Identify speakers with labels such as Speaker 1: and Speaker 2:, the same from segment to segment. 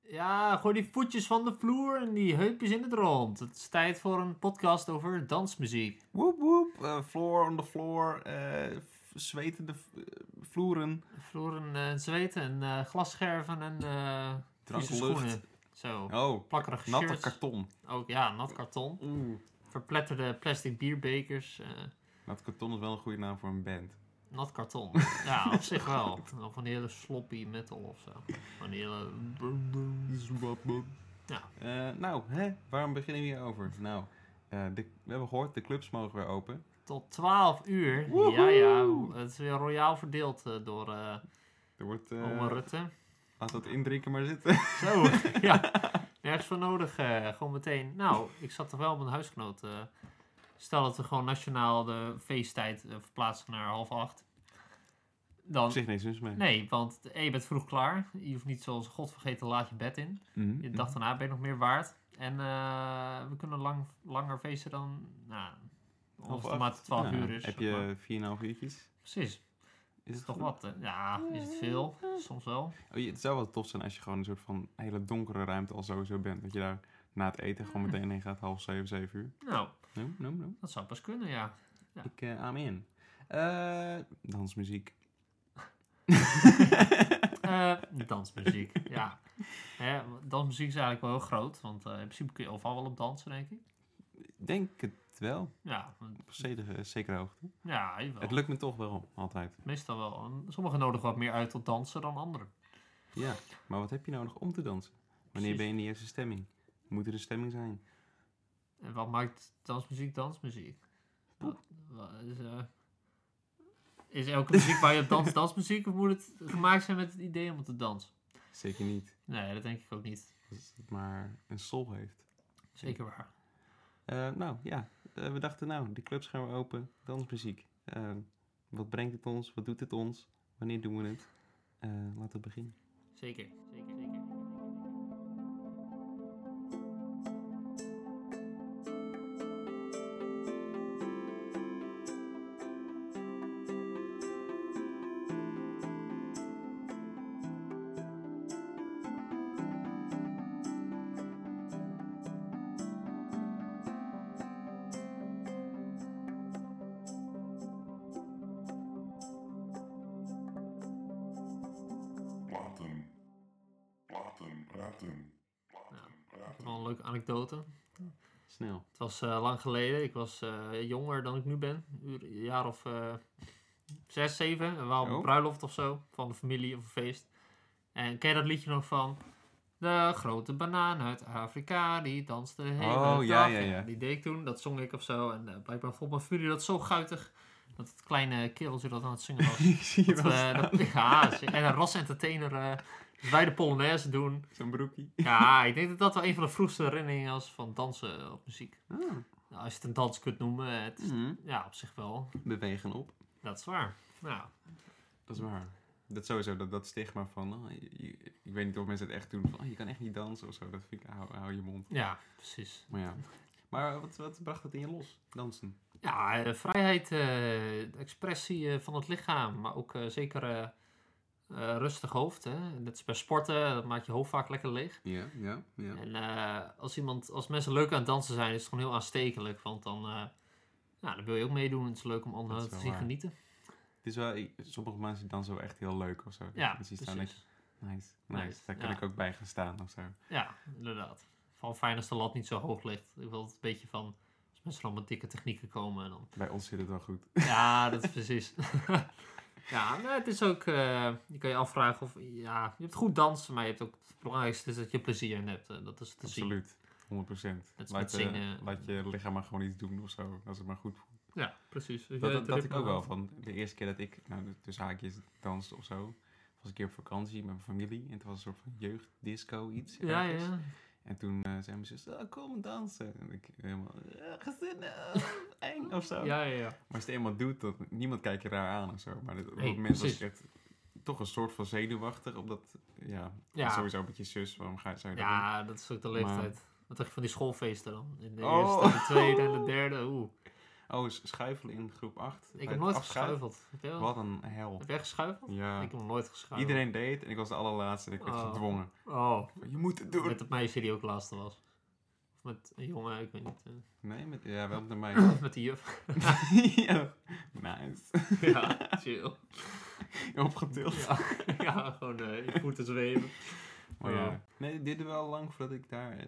Speaker 1: Ja, gooi die voetjes van de vloer en die heupjes in het rond. Het is tijd voor een podcast over dansmuziek.
Speaker 2: Woep woep, eh, floor on the floor, eh, f- zwetende v- eh, vloeren,
Speaker 1: Vloeren en zweten en eh, glasscherven en eh vieze
Speaker 2: dranklucht.
Speaker 1: schoenen. Zo,
Speaker 2: Oh,
Speaker 1: plakkerige
Speaker 2: natte
Speaker 1: shirts.
Speaker 2: karton.
Speaker 1: Ook ja, nat karton.
Speaker 2: Oeh.
Speaker 1: Verpletterde plastic bierbekers. eh,
Speaker 2: Nat karton is wel een goede naam voor een band.
Speaker 1: nat karton. ja, op zich wel. Of een hele sloppy metal of zo. Van die hele... Ja.
Speaker 2: Eh, nou, hè? waarom beginnen we hierover? Nou, eh, de- we hebben gehoord, de clubs mogen weer open.
Speaker 1: Tot 12 uur.
Speaker 2: Woehoe!
Speaker 1: Ja, ja. Het is weer royaal verdeeld eh, door eh
Speaker 2: Er wordt, eh,
Speaker 1: oma Rutte.
Speaker 2: laat dat indrinken maar zitten.
Speaker 1: Zo, ja. Nergens voor nodig. eh, gewoon meteen. Nou, ik zat toch wel op een huisgenoot. eh, stel dat we gewoon nationaal de feesttijd eh, verplaatsen naar half acht.
Speaker 2: Op
Speaker 1: Dan,
Speaker 2: zich niks mis mee.
Speaker 1: nee, want eh, je bent vroeg klaar. Je hoeft niet zoals godvergeten laat je bed in.
Speaker 2: Mhm.
Speaker 1: Je dag daarna ben je nog meer waard. En eh, we kunnen lang, langer feesten dan, nou,
Speaker 2: Half
Speaker 1: als het
Speaker 2: acht.
Speaker 1: maar 12
Speaker 2: Ja,
Speaker 1: uur is.
Speaker 2: Heb
Speaker 1: zeg maar.
Speaker 2: je 4,5 uurtjes?
Speaker 1: Precies.
Speaker 2: Is het
Speaker 1: Toch
Speaker 2: goed?
Speaker 1: wat? hè? Ja, is het veel? Soms wel.
Speaker 2: Oh, je- het zou wel tof zijn als je gewoon een soort van hele donkere ruimte al sowieso bent. Dat je daar na het eten gewoon meteen heen gaat, half zeven, zeven uur.
Speaker 1: Nou,
Speaker 2: No, no, no.
Speaker 1: dat zou pas kunnen, ja. Ja.
Speaker 2: Ik, eh I'm in. Eh, dansmuziek.
Speaker 1: Eh, dansmuziek, ja. Hè, dansmuziek is eigenlijk wel heel groot, want eh, in principe kun je overal wel op dansen, denk ik.
Speaker 2: Ik Denk het wel.
Speaker 1: Ja, want-
Speaker 2: Op zekere, zekere hoogte.
Speaker 1: ja
Speaker 2: Het
Speaker 1: jawel.
Speaker 2: lukt me toch wel, altijd.
Speaker 1: meestal wel. En Sommigen nodigen wat meer uit tot dansen dan anderen.
Speaker 2: Ja, maar wat heb je nodig om te dansen? Wanneer
Speaker 1: Precies.
Speaker 2: ben je in de eerste stemming? Moet er een stemming zijn?
Speaker 1: En wat maakt dansmuziek dansmuziek? Wat, wat is, eh, is elke muziek waar je op danst dansmuziek, of moet het gemaakt zijn met het idee om te dansen?
Speaker 2: Zeker niet.
Speaker 1: Nee, dat denk ik ook niet.
Speaker 2: Als het maar een soul heeft.
Speaker 1: Zeker waar.
Speaker 2: Eh, nou ja, Eh, we dachten nou, de clubs gaan weer open, dansmuziek. Eh, wat brengt het ons? Wat doet het ons? Wanneer doen we het? Eh, laten we beginnen.
Speaker 1: Zeker, zeker, zeker.
Speaker 3: Platen. Platen. Platen.
Speaker 1: Ja,
Speaker 3: Platen.
Speaker 1: Dat is
Speaker 3: Platen.
Speaker 1: wel een leuke anekdote.
Speaker 2: Snel.
Speaker 1: Het was eh, lang geleden. Ik was eh, jonger dan ik nu ben. Een uur- een jaar of eh, zes, zeven. We waren op een
Speaker 2: Oh.
Speaker 1: bruiloft of zo. Van de familie of een feest. En ken je dat liedje nog van? De grote banaan uit Afrika, die danste de hele
Speaker 2: Oh,
Speaker 1: dag.
Speaker 2: ja, ja, ja.
Speaker 1: Die deed ik toen, dat zong ik of zo. En eh, blijkbaar vond mijn familie dat zo guitig, dat het kleine kereltje dat aan het zingen was.
Speaker 2: Ik zie je
Speaker 1: dat, we- dat- ja, en een ras entertainer. eh, dus wij de Polonaise doen.
Speaker 2: Zo'n broekje.
Speaker 1: Ja, ik denk dat dat wel een van de vroegste herinneringen was van dansen op muziek.
Speaker 2: Ah,
Speaker 1: Nou, als je het een dans kunt noemen, het is-
Speaker 2: mhm.
Speaker 1: ja, op zich wel.
Speaker 2: Bewegen op.
Speaker 1: Dat is waar. Nou,
Speaker 2: Dat is waar. Dat sowieso, dat, dat stigma van, oh, je- je- ik weet niet of mensen het echt doen, van oh, je kan echt niet dansen of zo. Dat vind ik, hou, hou je mond.
Speaker 1: ja, precies.
Speaker 2: Maar ja. Maar wat, wat bracht het in je los? Dansen.
Speaker 1: Ja, eh, vrijheid, eh, de expressie eh, van het lichaam, maar ook eh, zeker eh, eh, rustig hoofd. Hè? Dat is bij sporten, dat maakt je hoofd vaak lekker leeg.
Speaker 2: Ja, ja, ja.
Speaker 1: En eh, als, iemand, als mensen leuk aan het dansen zijn, is het gewoon heel aanstekelijk. Want dan, eh nou, dan wil je ook meedoen. Het is leuk om
Speaker 2: Dat
Speaker 1: anderen
Speaker 2: is
Speaker 1: te
Speaker 2: wel
Speaker 1: zien
Speaker 2: waar.
Speaker 1: genieten.
Speaker 2: Het is wel, ik- sommige mensen dansen wel echt heel leuk of zo.
Speaker 1: Ja,
Speaker 2: Dan zie
Speaker 1: precies.
Speaker 2: je staan en denk je, nice, nice,
Speaker 1: Nice,
Speaker 2: Daar kan
Speaker 1: ja.
Speaker 2: ik ook bij gaan staan of zo.
Speaker 1: Ja, inderdaad. Vooral fijn als de lat niet zo hoog ligt. Ik wil het een beetje van... Als mensen dan met dikke technieken komen, dan...
Speaker 2: Bij ons zit het wel goed.
Speaker 1: Ja, dat is precies. ja, nee, het is ook... eh, je kan je afvragen of... Ja, je hebt goed dansen, maar je hebt ook... Het belangrijkste is dat je plezier in hebt. En dat is te zien.
Speaker 2: Absoluut. eh, 100%.
Speaker 1: met
Speaker 2: Laat, je
Speaker 1: zingen. eh.
Speaker 2: laat je lichaam maar gewoon iets doen of zo. Als het maar goed voelt.
Speaker 1: Ja, precies. Dus
Speaker 2: Dat, dat, dat ik ook wel. Van de eerste keer dat ik, nou, tussen haakjes, danste of zo. Was een keer op vakantie met mijn familie. En toen was een soort van jeugddisco iets.
Speaker 1: Ja,
Speaker 2: ergens.
Speaker 1: ja.
Speaker 2: En toen eh, zei mijn zus, oh, kom dansen. En ik helemaal, eh, gezinnen, eh, eng of zo.
Speaker 1: Ja, ja, ja.
Speaker 2: Maar als je het eenmaal doet, dan niemand kijkt je raar aan of zo. Maar dit, op
Speaker 1: Nee,
Speaker 2: dat moment was ik
Speaker 1: precies.
Speaker 2: echt toch een soort van zenuwachtig. Omdat, ja,
Speaker 1: Ja.
Speaker 2: sowieso met je zus, waarom ga je zo
Speaker 1: Ja, dat is ook de
Speaker 2: Maar-
Speaker 1: leeftijd. Wat dacht je van die schoolfeesten dan? In de
Speaker 2: Oh.
Speaker 1: eerste, de tweede en de derde. Oeh.
Speaker 2: Oh, is schuifelen in groep 8.
Speaker 1: Ik heb nooit geschuifeld. Heb jij wel-
Speaker 2: Wat een hel.
Speaker 1: Heb jij geschuifeld?
Speaker 2: Ja.
Speaker 1: Ik heb nog nooit geschuifeld.
Speaker 2: Iedereen deed en ik was de allerlaatste en ik werd
Speaker 1: Oh.
Speaker 2: gedwongen.
Speaker 1: Oh,
Speaker 2: Je moet het doen.
Speaker 1: met het meisje die ook laatste was. Of met een jongen, ik weet niet. eh,
Speaker 2: Nee, met, ja, wel met de meisje.
Speaker 1: met die juf.
Speaker 2: ja. Nice.
Speaker 1: ja, chill.
Speaker 2: Opgetild.
Speaker 1: Ja, ja gewoon eh je voeten zweven.
Speaker 2: Maar
Speaker 1: Ja.
Speaker 2: ja. Nee, dit duurde wel lang voordat ik daar eh,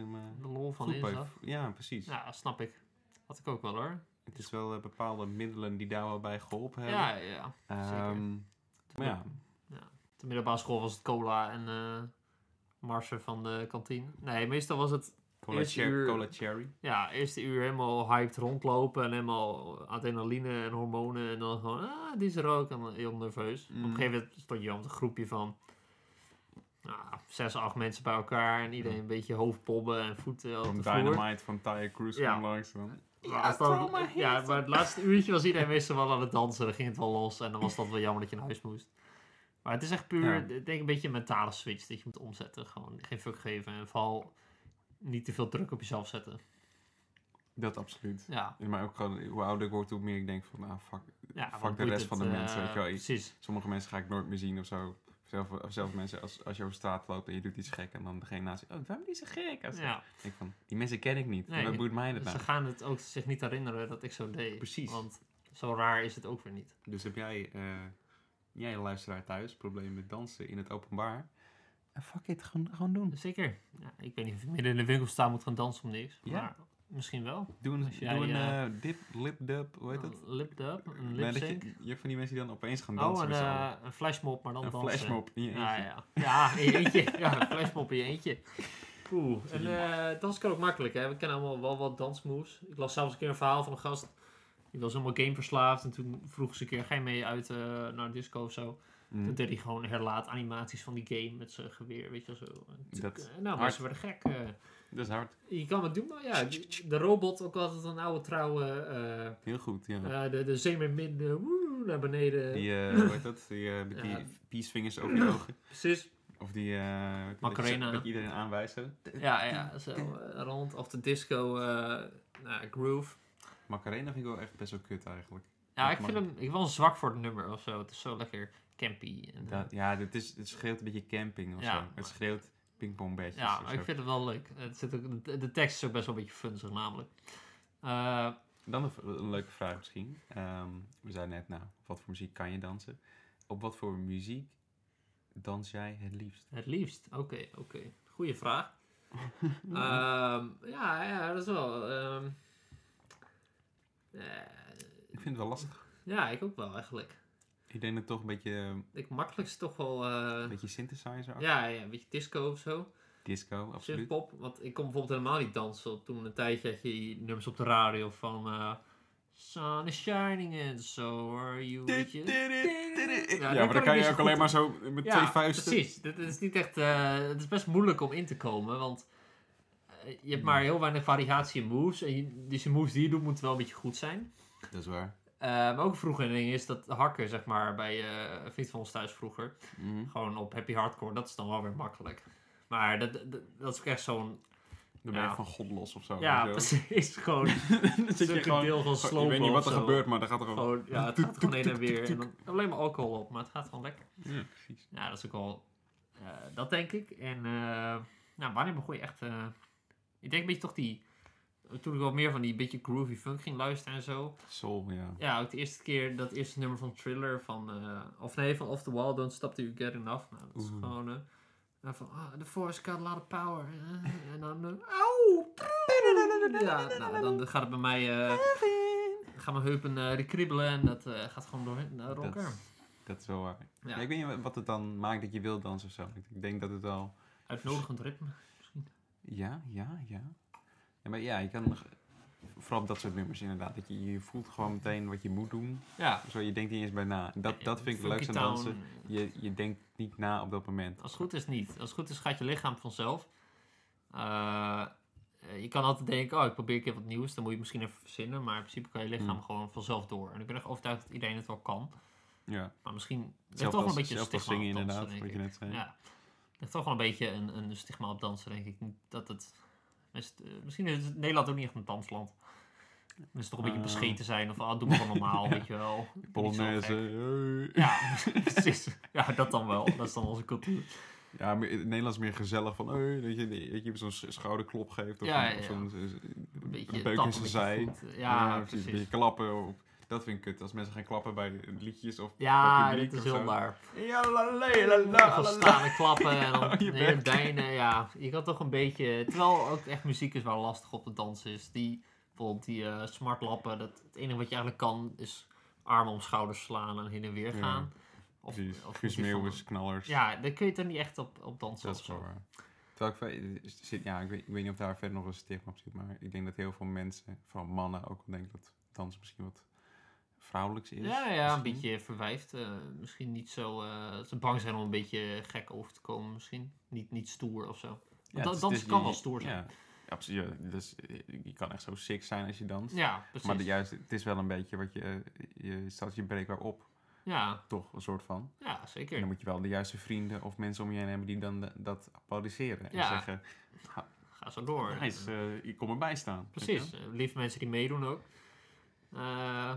Speaker 2: eh, me
Speaker 1: De lol van
Speaker 2: goed bij
Speaker 1: inzag.
Speaker 2: vo- Ja, precies.
Speaker 1: Ja, snap ik. Had ik ook wel hoor.
Speaker 2: Het is wel eh, bepaalde middelen die daar wel bij geholpen hebben.
Speaker 1: Ja, ja. zeker.
Speaker 2: Ehm, maar ja,
Speaker 1: Op de middelbare school was het cola en eh marsen van de kantine. Nee, meestal was het
Speaker 2: cola,
Speaker 1: Eerste
Speaker 2: cher-
Speaker 1: uur-
Speaker 2: cola cherry.
Speaker 1: ja, eerste uur helemaal hyped rondlopen en helemaal adrenaline en hormonen. En dan gewoon, ah, die is er ook. En dan heel nerveus.
Speaker 2: Mm.
Speaker 1: Op een gegeven moment stond je om een groepje van nou, zes, acht mensen bij elkaar. En iedereen een beetje hoofdpobben en voeten op
Speaker 2: Van
Speaker 1: de vloer.
Speaker 2: Mm. Dynamite van Tyre Cruise
Speaker 1: Ja.
Speaker 2: kwam langs. Dan.
Speaker 1: Maar als dan- ja, maar het laatste uurtje was iedereen meestal wel aan het dansen. Dan ging het wel los en dan was dat wel jammer dat je naar huis moest. Maar het is echt puur,
Speaker 2: Ja.
Speaker 1: ik denk een beetje een mentale switch dat je moet omzetten. Gewoon geen fuck geven en vooral niet te veel druk op jezelf zetten.
Speaker 2: Dat absoluut.
Speaker 1: Ja,
Speaker 2: Maar ook gewoon, hoe ouder ik word, hoe meer ik denk van, ah fuck.
Speaker 1: ja
Speaker 2: Fuck
Speaker 1: want
Speaker 2: de
Speaker 1: boeit
Speaker 2: rest van de
Speaker 1: eh,
Speaker 2: mensen, weet je wel.
Speaker 1: Precies.
Speaker 2: Sommige mensen ga ik nooit meer zien of zo. Of Zelf, of zelfs mensen, als, als je over straat loopt en je doet iets gek en dan degene naast je, oh, waarom is ze gek? Als
Speaker 1: Ja,
Speaker 2: Ik denk van, die mensen ken ik niet.
Speaker 1: Nee,
Speaker 2: Wat boeit mij dat
Speaker 1: ze
Speaker 2: nou?
Speaker 1: gaan het ook zich niet herinneren dat ik zo deed.
Speaker 2: Precies.
Speaker 1: Want zo raar is het ook weer niet.
Speaker 2: Dus heb jij, eh, jij luisteraar thuis, problemen met dansen in het openbaar? En Eh, fuck it, gewoon, gewoon doen.
Speaker 1: Zeker. Ja, ik weet niet of ik midden in de winkel sta moet gaan dansen om niks.
Speaker 2: Ja.
Speaker 1: Maar misschien wel.
Speaker 2: Doe een,
Speaker 1: Als jij,
Speaker 2: doe een
Speaker 1: eh, Oh.
Speaker 2: eh, dip, lip, dub, hoe heet dat?
Speaker 1: Lip up, een
Speaker 2: Nee,
Speaker 1: lip
Speaker 2: dat
Speaker 1: sync.
Speaker 2: je, je hebt van die mensen die dan opeens gaan
Speaker 1: Oh,
Speaker 2: dansen
Speaker 1: een,
Speaker 2: met z'n allen.
Speaker 1: eh, een flashmob, maar dan
Speaker 2: Een
Speaker 1: dansen. Ah,
Speaker 2: flashmob in je
Speaker 1: Ja,
Speaker 2: eentje.
Speaker 1: ja. ja, in je eentje. Ja, een flashmob in je eentje. Oeh. En eh, dansen kan ook makkelijk, hè. We kennen allemaal wel wat dansmoves. Ik las zelfs een keer een verhaal van een gast. Die was helemaal gameverslaafd. En toen vroeg ze een keer, ga je mee uit eh, naar een disco of zo?
Speaker 2: Mm.
Speaker 1: Toen deed hij gewoon herlaat animaties van die game met zijn geweer, weet je wel zo. En toen-
Speaker 2: Dat-
Speaker 1: eh, nou,
Speaker 2: hard.
Speaker 1: mensen werden gek. eh.
Speaker 2: Dat is hard.
Speaker 1: je kan het doen, maar ja. die- De robot, ook altijd een oude trouwe... eh,
Speaker 2: Heel goed, ja.
Speaker 1: eh, de, de zeemermin, eh, woe, naar beneden.
Speaker 2: die, eh, hoe heet dat? Die, eh, met
Speaker 1: Ja.
Speaker 2: die peacevingers over je ogen.
Speaker 1: Precies.
Speaker 2: Of die, eh, dat je-
Speaker 1: Macarena.
Speaker 2: Dat je iedereen aanwijst. hè?
Speaker 1: Ja, ja, zo eh, rond. Of de disco eh, nou, groove.
Speaker 2: Macarena vind ik wel echt best wel kut eigenlijk.
Speaker 1: Ja,
Speaker 2: Dat
Speaker 1: ik vind
Speaker 2: mag.
Speaker 1: hem ik ben wel zwak voor het nummer of zo. Het is zo lekker campy. En, eh,
Speaker 2: Dat, ja, dit is, het schreeuwt een beetje camping of
Speaker 1: Ja,
Speaker 2: zo.
Speaker 1: maar-
Speaker 2: Het schreeuwt pingpongbedjes
Speaker 1: ja,
Speaker 2: of
Speaker 1: maar
Speaker 2: zo.
Speaker 1: ik vind het wel leuk. Het zit ook, de, de tekst is ook best wel een beetje funzig namelijk. Eh,
Speaker 2: Dan een, v- een leuke vraag misschien. Ehm, we zeiden net, nou, op wat voor muziek kan je dansen? Op wat voor muziek dans jij het liefst?
Speaker 1: het liefst. Oké, oké. Goeie vraag. Ehm, ja, ja, dat is wel... ehm, eh,
Speaker 2: Ik vind het wel lastig.
Speaker 1: ja, ik ook wel eigenlijk.
Speaker 2: Ik denk dat toch een beetje, ehm, een
Speaker 1: Ik makkelijkst toch wel... eh,
Speaker 2: beetje synthesizer
Speaker 1: ja, ja, een beetje disco of zo.
Speaker 2: Disco, absoluut.
Speaker 1: Synthpop, want ik kon bijvoorbeeld helemaal niet dansen. Toen een tijdje had je die nummers op de radio van... eh, Sun is shining and so are you. weet je.
Speaker 2: Ja,
Speaker 1: dat
Speaker 2: maar dan
Speaker 1: kan
Speaker 2: kan
Speaker 1: ik
Speaker 2: je
Speaker 1: niet
Speaker 2: ook
Speaker 1: zo
Speaker 2: alleen
Speaker 1: goed.
Speaker 2: maar zo met
Speaker 1: Ja,
Speaker 2: twee vuisten.
Speaker 1: precies. Dat is niet echt, eh, het is best moeilijk om in te komen, want eh,
Speaker 2: Hmm.
Speaker 1: je hebt maar heel weinig variatie in moves. En je- dus je moves die je doet moeten wel een beetje goed zijn.
Speaker 2: Dat is waar.
Speaker 1: Eh, maar ook vroeger een ding is dat hakken, zeg maar, bij eh, een vriend van ons thuis vroeger.
Speaker 2: Mhm.
Speaker 1: Gewoon op happy hardcore, dat is dan wel weer makkelijk. Maar dat, dat, dat is ook echt zo'n...
Speaker 2: Dan ben je
Speaker 1: Ja.
Speaker 2: van god los of zo.
Speaker 1: Ja,
Speaker 2: weet je
Speaker 1: precies. Gewoon
Speaker 2: wel. Dan zit je
Speaker 1: Stuk
Speaker 2: gewoon...
Speaker 1: deel van
Speaker 2: van,
Speaker 1: slopen
Speaker 2: ik weet niet
Speaker 1: of
Speaker 2: wat er
Speaker 1: zo.
Speaker 2: gebeurt, maar dan gaat er gewoon...
Speaker 1: Gewoon, ja, het gaat gewoon heen en weer. En dan alleen maar alcohol op, maar het gaat gewoon lekker.
Speaker 2: Ja, precies.
Speaker 1: Ja, dat is ook wel... eh, dat denk ik. En eh, nou, wanneer begon je echt... eh, ik denk een beetje toch die... Toen ik wel meer van die beetje groovy funk ging luisteren en zo.
Speaker 2: Soul, ja.
Speaker 1: Ja, ook de eerste keer dat eerste nummer van Thriller van... eh, of nee, van Off the Wall, Don't Stop Till You Get Enough. Nou, dat is
Speaker 2: Oeh.
Speaker 1: gewoon... eh, nou, van, ah, the force got a lot of power. eh, en dan... eh, auw! Ja, nou, dan gaat het bij mij... eh, gaan mijn heupen eh, die kriebelen en dat eh, gaat gewoon door, naar
Speaker 2: Dat
Speaker 1: elkaar.
Speaker 2: is- Dat is wel waar.
Speaker 1: Ja.
Speaker 2: Ja, ik weet niet wat het dan maakt dat je wil dansen of zo. Ik- Ik denk dat het wel...
Speaker 1: Uitnodigend ritme.
Speaker 2: Ja, ja, ja. ja maar ja, je kan... nog- Vooral op dat soort nummers inderdaad. Dat je, je voelt gewoon meteen wat je moet doen.
Speaker 1: Ja.
Speaker 2: Zo, je denkt niet eens bij na. Dat, dat vind ik het
Speaker 1: Funky
Speaker 2: leukste aan
Speaker 1: Town.
Speaker 2: dansen. Je, je denkt niet na op dat moment.
Speaker 1: Als het goed is niet. Als het goed is gaat je lichaam vanzelf. Eh, eh, je kan altijd denken, oh ik probeer een keer wat nieuws. Dan moet je het misschien even verzinnen. Maar in principe kan je lichaam
Speaker 2: Hmm.
Speaker 1: gewoon vanzelf door. En ik ben echt overtuigd dat iedereen het wel kan.
Speaker 2: Ja.
Speaker 1: Maar misschien ligt
Speaker 2: Zelfs
Speaker 1: toch wel
Speaker 2: als-
Speaker 1: een beetje een
Speaker 2: zelfs als
Speaker 1: stigma
Speaker 2: zingen
Speaker 1: op dansen,
Speaker 2: inderdaad,
Speaker 1: denk
Speaker 2: wat je
Speaker 1: ik.
Speaker 2: net zei.
Speaker 1: Ja. Er ligt toch wel een beetje een, een stigma op dansen, denk ik. Dat het, is het- eh, misschien is het Nederland ook niet echt een dansland. Mensen toch een beetje
Speaker 2: Oh.
Speaker 1: bescheten zijn of ah, doe maar gewoon normaal,
Speaker 2: Ja.
Speaker 1: weet je wel. Niet zo
Speaker 2: Polonaise.
Speaker 1: gek.
Speaker 2: hey.
Speaker 1: Ja, precies. Ja, dat dan wel. Dat is dan onze cultuur.
Speaker 2: Ja, maar in het Nederlands meer gezellig van, hey, dat je, dat je zo'n s- schouderklop geeft of,
Speaker 1: Ja,
Speaker 2: een- of
Speaker 1: ja,
Speaker 2: zo'n eh, een
Speaker 1: Een beetje
Speaker 2: peuk
Speaker 1: tappen
Speaker 2: in zijn
Speaker 1: met je
Speaker 2: zij.
Speaker 1: voet. Ja,
Speaker 2: Een beetje
Speaker 1: precies.
Speaker 2: klappen. Of, dat vind ik kut, als mensen gaan klappen bij liedjes of
Speaker 1: Ja,
Speaker 2: bij
Speaker 1: dit
Speaker 2: publiek
Speaker 1: is
Speaker 2: of
Speaker 1: heel
Speaker 2: zo.
Speaker 1: naar.
Speaker 2: Ja, la, la, la,
Speaker 1: En
Speaker 2: la,
Speaker 1: Gewoon
Speaker 2: la,
Speaker 1: staan en klappen en
Speaker 2: Ja,
Speaker 1: dan
Speaker 2: je
Speaker 1: je
Speaker 2: bek.
Speaker 1: benen. Ja, je kan toch een beetje... Terwijl ook echt muziek is waar lastig op te dansen is. Die, bijvoorbeeld die eh, smartlappen. Dat, het enige wat je eigenlijk kan is armen om schouders slaan en heen en weer
Speaker 2: Ja,
Speaker 1: gaan. Of,
Speaker 2: Precies,
Speaker 1: of
Speaker 2: Guus
Speaker 1: moet je van-
Speaker 2: Meeuwis, knallers.
Speaker 1: Ja, dan kun je er niet echt op, op dansen
Speaker 2: dat
Speaker 1: of
Speaker 2: is wel
Speaker 1: zo.
Speaker 2: waar. Terwijl ik, ve- eh, zit, ja, ik, weet, ik weet niet of daar verder nog een stigma op zit, maar ik denk dat heel veel mensen, vooral mannen, ook wel denken dat dansen misschien wat vrouwelijks is.
Speaker 1: Ja, ja,
Speaker 2: misschien.
Speaker 1: een beetje verwijfd. eh, misschien niet zo... eh, ze bang zijn om een beetje gek over te komen misschien. Niet, niet stoer of zo.
Speaker 2: Ja,
Speaker 1: dan-
Speaker 2: het is-
Speaker 1: dansen
Speaker 2: het is-
Speaker 1: kan
Speaker 2: je-
Speaker 1: wel stoer zijn.
Speaker 2: Ja, absoluut. Ja, dus, eh, je kan echt zo sick zijn als je danst.
Speaker 1: Ja, precies.
Speaker 2: maar de- juist, het is wel een beetje wat je, eh, je stelt je breekbaar op,
Speaker 1: ja,
Speaker 2: toch, een soort van.
Speaker 1: ja, zeker.
Speaker 2: En dan moet je wel de juiste vrienden of mensen om je heen hebben die dan de- dat applaudisseren. En
Speaker 1: Ja.
Speaker 2: zeggen,
Speaker 1: Ga zo door.
Speaker 2: hij is, eh, ik kom erbij staan. weet je
Speaker 1: Precies, eh, lieve mensen die meedoen ook. Eh,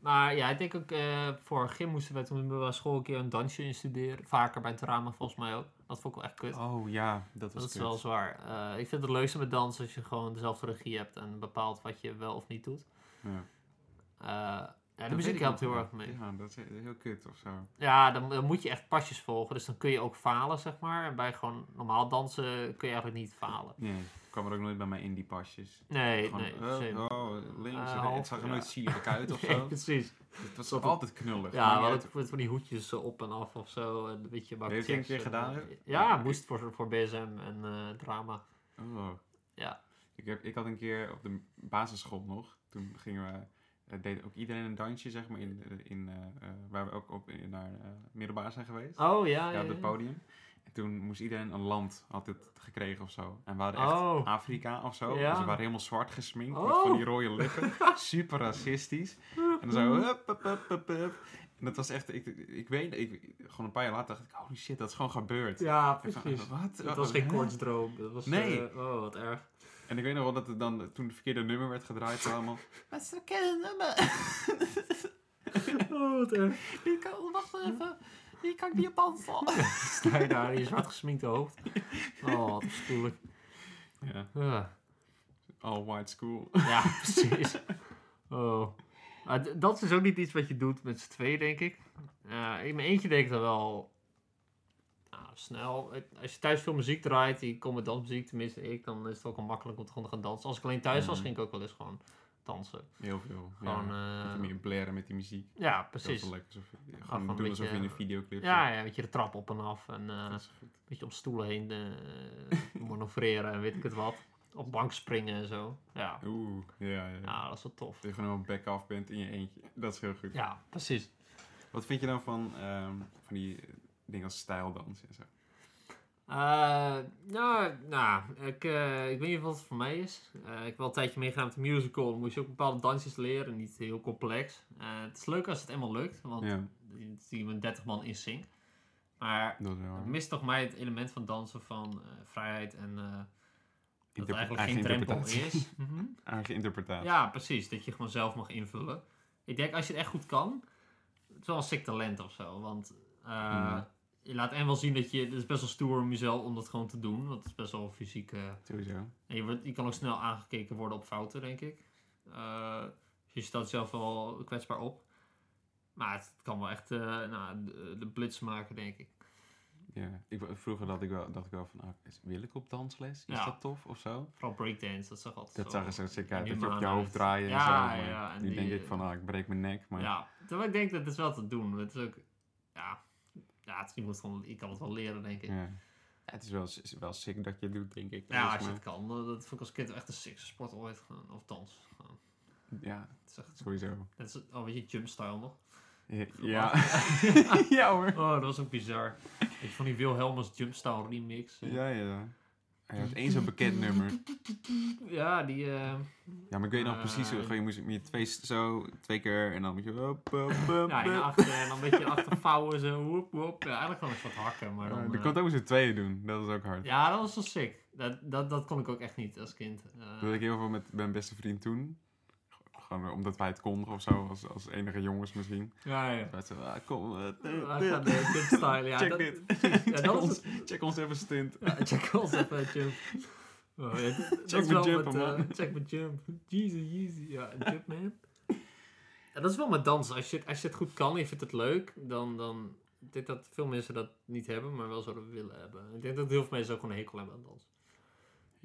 Speaker 1: maar ja, ik denk ook eh, voor gym moesten we toen we middelbare school een keer een dansje instuderen. Vaker bij het drama volgens mij ook. Dat vond ik wel echt
Speaker 2: wel?
Speaker 1: kut.
Speaker 2: Oh ja, dat was
Speaker 1: dat is
Speaker 2: kut.
Speaker 1: wel zwaar. Eh, ik vind het leukste met dansen als je gewoon dezelfde regie hebt en bepaalt wat je wel of niet doet.
Speaker 2: Ja.
Speaker 1: Eh, ja, de
Speaker 2: Dat weet
Speaker 1: muziek
Speaker 2: ik
Speaker 1: helpt
Speaker 2: nog
Speaker 1: heel
Speaker 2: wel.
Speaker 1: erg mee.
Speaker 2: Ja, dat is he- heel kut of zo.
Speaker 1: Ja, dan, dan moet je echt pasjes volgen. Dus dan kun je ook falen, zeg maar. En bij gewoon normaal dansen kun je eigenlijk niet falen.
Speaker 2: Nee, kwam er ook nooit bij mij in die pasjes.
Speaker 1: Nee,
Speaker 2: Gewoon,
Speaker 1: nee.
Speaker 2: eh,
Speaker 1: same.
Speaker 2: oh,
Speaker 1: Eh,
Speaker 2: links. en rechts. het
Speaker 1: half,
Speaker 2: zag er
Speaker 1: ja.
Speaker 2: nooit zielig uit of
Speaker 1: Nee,
Speaker 2: zo.
Speaker 1: precies.
Speaker 2: Het was altijd knullig.
Speaker 1: Ja,
Speaker 2: maar
Speaker 1: wel ook met van die hoedjes eh, op en af of zo. En weet je, Mark
Speaker 2: Heeft hij een
Speaker 1: Jackson,
Speaker 2: keer gedaan,
Speaker 1: eh,
Speaker 2: hè?
Speaker 1: Ja, moest voor, voor BSM en eh, drama.
Speaker 2: Oh.
Speaker 1: Ja.
Speaker 2: Ik, heb, ik had een keer op de basisschool nog, toen gingen we, eh, deed ook iedereen een dansje, zeg maar, in, eh, in, eh, eh, waar we ook op, in- naar eh, middelbaar zijn geweest.
Speaker 1: Oh ja,
Speaker 2: ja,
Speaker 1: ja.
Speaker 2: op het
Speaker 1: ja.
Speaker 2: podium. En toen moest iedereen een land, had het gekregen of zo. En we hadden echt
Speaker 1: Oh.
Speaker 2: Afrika of zo.
Speaker 1: Ja.
Speaker 2: Dus we waren helemaal zwart gesminkt met
Speaker 1: Oh.
Speaker 2: van die rode lippen. Super racistisch. En dan zo,
Speaker 1: Mm.
Speaker 2: hup, hup, hup, hup, hup. En dat was echt, ik, ik weet, ik, gewoon een paar jaar later dacht ik, holy shit, dat is gewoon gebeurd.
Speaker 1: Ja,
Speaker 2: Ik van,
Speaker 1: precies.
Speaker 2: Wat?
Speaker 1: Het was geen
Speaker 2: Oh, Hè?
Speaker 1: koortsdroom. Het was,
Speaker 2: Nee.
Speaker 1: eh, oh, wat erg.
Speaker 2: En ik weet nog wel dat er dan toen het verkeerde nummer werd gedraaid allemaal. Maar ze kennen nummer.
Speaker 1: Oh, wat erg.
Speaker 2: Die kan, wacht even. Die kan ik niet op aanvallen.
Speaker 1: Sta je daar in je zwart gesminkte hoofd. Oh, wat afschuwelijk.
Speaker 2: Ja,
Speaker 1: Ah.
Speaker 2: all white school.
Speaker 1: Ja, precies. Oh. Maar d- dat is ook niet iets wat je doet met z'n twee, denk ik. Eh, in mijn eentje denk ik dan wel nou, snel. Het- Als je thuis veel muziek draait, die komt met dansmuziek, tenminste ik, dan is het ook wel makkelijk om te gewoon te gaan dansen. Als ik alleen thuis was,
Speaker 2: Mhm.
Speaker 1: ging ik ook wel eens gewoon dansen.
Speaker 2: Heel veel.
Speaker 1: Gewoon,
Speaker 2: ja.
Speaker 1: ja,
Speaker 2: Dat je meer blaren met die muziek.
Speaker 1: ja
Speaker 2: Dat is
Speaker 1: precies.
Speaker 2: wel lekker. Alsof, je-
Speaker 1: gewoon
Speaker 2: gewoon
Speaker 1: een
Speaker 2: doen
Speaker 1: beetje-
Speaker 2: alsof je in een videoclip
Speaker 1: Ja, ja, een beetje de trap op en af en eh,
Speaker 2: zit.
Speaker 1: een
Speaker 2: Dat is goed.
Speaker 1: beetje om stoelen heen eh manoeuvreren en weet ik het wat. Op bank springen en zo. Ja,
Speaker 2: Oeh, ja, ja.
Speaker 1: ja dat is wel tof.
Speaker 2: Dat je gewoon helemaal back-off bent in je eentje. Dat is heel goed.
Speaker 1: Ja, precies.
Speaker 2: Wat vind je dan van, ehm, van die eh, dingen als stijldans en zo?
Speaker 1: Eh, nou, nou ik, eh, ik weet niet wat het voor mij is. Eh, ik heb wel een tijdje meegedaan met de musical. Dan moest je ook bepaalde dansjes leren, niet heel complex. Eh, het is leuk als het eenmaal lukt, want
Speaker 2: Ja,
Speaker 1: die zie je met 30 man in sync. Maar
Speaker 2: dat is wel
Speaker 1: het
Speaker 2: waar.
Speaker 1: mist toch mij het element van dansen van eh, vrijheid en eh, dat
Speaker 2: Interpre-
Speaker 1: er eigenlijk geen
Speaker 2: eigen
Speaker 1: drempel
Speaker 2: interpretatie.
Speaker 1: is. Mhm.
Speaker 2: Eigen interpretatie.
Speaker 1: Ja, precies. Dat je gewoon zelf mag invullen. Ik denk als je het echt goed kan, het is wel een sick talent of zo. Want eh,
Speaker 2: Ja.
Speaker 1: je laat en wel zien dat je. Het is best wel stoer om jezelf om dat gewoon te doen. Want het is best wel fysiek. eh,
Speaker 2: Sowieso.
Speaker 1: en je, wordt, je kan ook snel aangekeken worden op fouten, denk ik. Eh, dus je stelt zelf wel kwetsbaar op. Maar het kan wel echt eh, nou, de, de blitz maken, denk ik.
Speaker 2: Ja, ik, wa- vroeger dacht ik wel, dacht ik wel van, ah, is- wil ik op dansles? Is
Speaker 1: Ja.
Speaker 2: dat tof of zo?
Speaker 1: Vooral breakdance, dat zag altijd
Speaker 2: Dat
Speaker 1: zo.
Speaker 2: zag er zo sick uit,
Speaker 1: die
Speaker 2: dat je op je
Speaker 1: maan
Speaker 2: hoofd
Speaker 1: uit.
Speaker 2: draaien en
Speaker 1: Ja,
Speaker 2: zo. Maar
Speaker 1: ja, en
Speaker 2: nu
Speaker 1: die,
Speaker 2: denk ik
Speaker 1: eh,
Speaker 2: van, ah, ik breek mijn nek. Maar
Speaker 1: Ja, terwijl ik denk dat het is wel te doen. Het is ook, ja, ja het, je, moet gewoon, je kan het wel leren, denk ik. Ja,
Speaker 2: ja. Ja, het is wel, is wel sick dat je het doet, denk ik.
Speaker 1: als je
Speaker 2: maar-
Speaker 1: het kan. Dat dat vond ik als kind echt een sixte sport ooit. gewoon, Of dans. gewoon.
Speaker 2: ja,
Speaker 1: Het is echt,
Speaker 2: sowieso.
Speaker 1: net zo- oh, weet je, jumpstyle nog?
Speaker 2: Ja, ja.
Speaker 1: Gemaakt.
Speaker 2: Ja, hoor.
Speaker 1: Oh, dat was ook bizar. Ik vond die Wilhelmus jumpstyle remix. eh.
Speaker 2: Ja, ja. Hij heeft één zo'n bekend nummer.
Speaker 1: Ja, die... eh,
Speaker 2: Ja, maar ik weet nog precies, hoe-
Speaker 1: Eh,
Speaker 2: gewoon, je moest je twee, s- zo, twee keer en dan moet je... Up, up, up,
Speaker 1: ja, in
Speaker 2: up.
Speaker 1: achter, en dan een beetje achter vouwen. Zo, woep, woep. Ja, eigenlijk gewoon een soort hakken. Maar dan,
Speaker 2: Ja,
Speaker 1: eh,
Speaker 2: die kon het ook met z'n tweeën doen, dat is ook hard.
Speaker 1: ja, dat was wel sick. Dat, dat, dat kon ik ook echt niet als kind. Eh,
Speaker 2: Dat ik heel veel met mijn beste vriend toen. Gewoon omdat wij het konden of zo, als, als enige jongens misschien.
Speaker 1: Ja, ja.
Speaker 2: Wij zeiden, ah, kom, eh,
Speaker 1: Ja,
Speaker 2: dit,
Speaker 1: ja, de Jump style, ja.
Speaker 2: check
Speaker 1: dat-
Speaker 2: dit.
Speaker 1: Ja,
Speaker 2: check,
Speaker 1: dat
Speaker 2: ons,
Speaker 1: is het.
Speaker 2: check ons even stint.
Speaker 1: Ja, check ons even, Jump. Oh, ja, dat- dat
Speaker 2: Check
Speaker 1: is
Speaker 2: mijn
Speaker 1: wel
Speaker 2: jump,
Speaker 1: met,
Speaker 2: man.
Speaker 1: eh, check mijn Jump. Jeezy, jeezy. Ja, Jump, man. Ja, dat is wel met dansen. Als je, het- als je het goed kan en je vindt het leuk, dan... dan ik denk dat veel mensen dat niet hebben, maar wel zouden willen hebben. Ik denk dat heel veel mensen ook gewoon een hekel hebben aan dansen.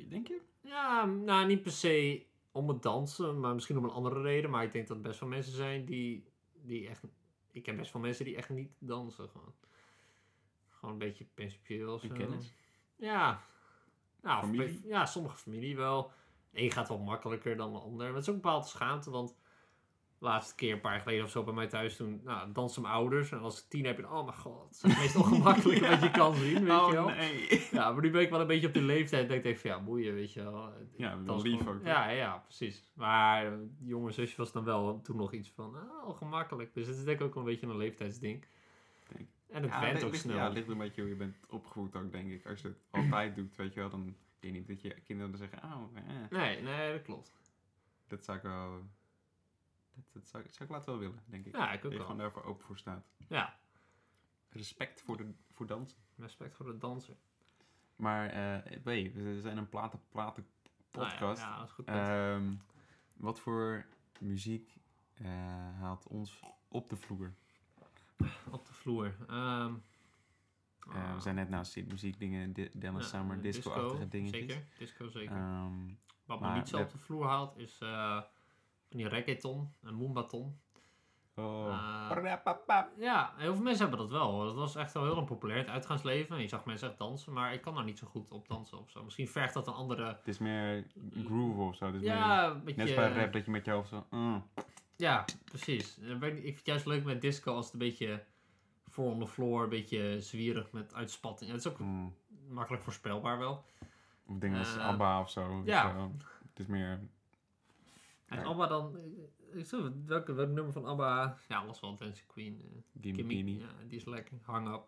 Speaker 4: Denk je?
Speaker 1: Ja, nou, niet per se om het dansen, maar misschien om een andere reden. Maar ik denk dat er best wel mensen zijn die, die echt... Ik ken best wel mensen die echt niet dansen, gewoon. Gewoon een beetje eh. principieel. of
Speaker 4: Die
Speaker 1: zo.
Speaker 4: kennis?
Speaker 1: Ja. Nou,
Speaker 2: Familie?
Speaker 1: familie? ja, sommige familie wel. De een gaat wel makkelijker dan de ander. Maar het is ook een bepaalde schaamte, want... de Laatste keer, een paar jaar geleden of zo, bij mij thuis toen... Nou, dansen mijn ouders. En als ik tien heb, je... Oh mijn god, het is meestal gemakkelijk wat je kan zien, weet je wel.
Speaker 2: Oh, nee.
Speaker 1: Ja, maar nu ben ik wel een beetje op de leeftijd dat ik denk van ja, boeien, weet je wel.
Speaker 2: Ja,
Speaker 1: Dat
Speaker 2: wel
Speaker 1: is
Speaker 2: lief
Speaker 1: gewoon-
Speaker 2: ook,
Speaker 1: Ja, ja, precies. Maar eh, die jonge zusje was dan wel toen nog iets van, oh, gemakkelijk. Dus het is denk ik ook wel een beetje een leeftijdsding.
Speaker 2: Denk-
Speaker 1: En het
Speaker 2: Ja,
Speaker 1: went
Speaker 2: ligt-
Speaker 1: ook
Speaker 2: ligt-
Speaker 1: snel.
Speaker 2: Ja, ligt een beetje hoe je bent opgevoed ook, denk ik. Als je het altijd doet, weet je wel, dan denk ik niet dat je kinderen dan zeggen, oh, eh.
Speaker 1: Nee, nee, dat klopt.
Speaker 2: Dat zou ik wel... Dat, dat zou, ik- zou ik laten wel willen, denk ik.
Speaker 1: Ja, ik
Speaker 2: dat
Speaker 1: ook
Speaker 2: je gewoon
Speaker 1: wel.
Speaker 2: daarvoor open voor staat.
Speaker 1: Ja,
Speaker 2: Respect voor, de, voor dansen.
Speaker 1: respect voor de danser.
Speaker 2: Maar, eh nee, we zijn een platen platen
Speaker 1: Nou ja,
Speaker 2: podcast.
Speaker 1: ja, dat is goed. punt.
Speaker 2: Ehm, wat voor muziek eh, haalt ons op de vloer?
Speaker 1: Op de vloer. Ehm,
Speaker 2: Eh,
Speaker 1: ah,
Speaker 2: we zijn net naast die muziekdingen, di Dennis
Speaker 1: ja,
Speaker 2: Summer,
Speaker 1: eh,
Speaker 2: disco-achtige dingetjes.
Speaker 1: Zeker, disco zeker.
Speaker 2: Ehm,
Speaker 1: Wat me
Speaker 2: maar
Speaker 1: niet zo
Speaker 2: we-
Speaker 1: op de vloer haalt is eh, van die reggaeton en moombaton.
Speaker 2: oh.
Speaker 1: Eh,
Speaker 2: Parapapap.
Speaker 1: Ja, heel veel mensen hebben dat wel. hoor. Dat was echt wel heel een populair het uitgaansleven. En je zag mensen echt dansen, maar ik kan daar niet zo goed op dansen of zo. Misschien vergt dat een andere.
Speaker 2: Het is meer groove of zo. Het is meer,
Speaker 1: Ja, een beetje.
Speaker 2: net als bij rap dat je met je hoofd zo... mm.
Speaker 1: Ja, precies. Ik weet niet, ik vind het juist leuk met disco als het een beetje voor on the floor, een beetje zwierig met uitspatting. En het is ook
Speaker 2: Mm.
Speaker 1: makkelijk voorspelbaar wel.
Speaker 2: Of dingen als
Speaker 1: Eh,
Speaker 2: ABBA of zo. weet
Speaker 1: ja.
Speaker 2: je wel. Het is meer...
Speaker 1: En
Speaker 2: Ja.
Speaker 1: ABBA dan. eh, Ik zeg, welke, welk nummer van ABBA? Ja, alles wel Dancing Queen. eh,
Speaker 2: Gimme,
Speaker 1: Gimme-
Speaker 2: gimme.
Speaker 1: Ja, die is lekker. Hang up.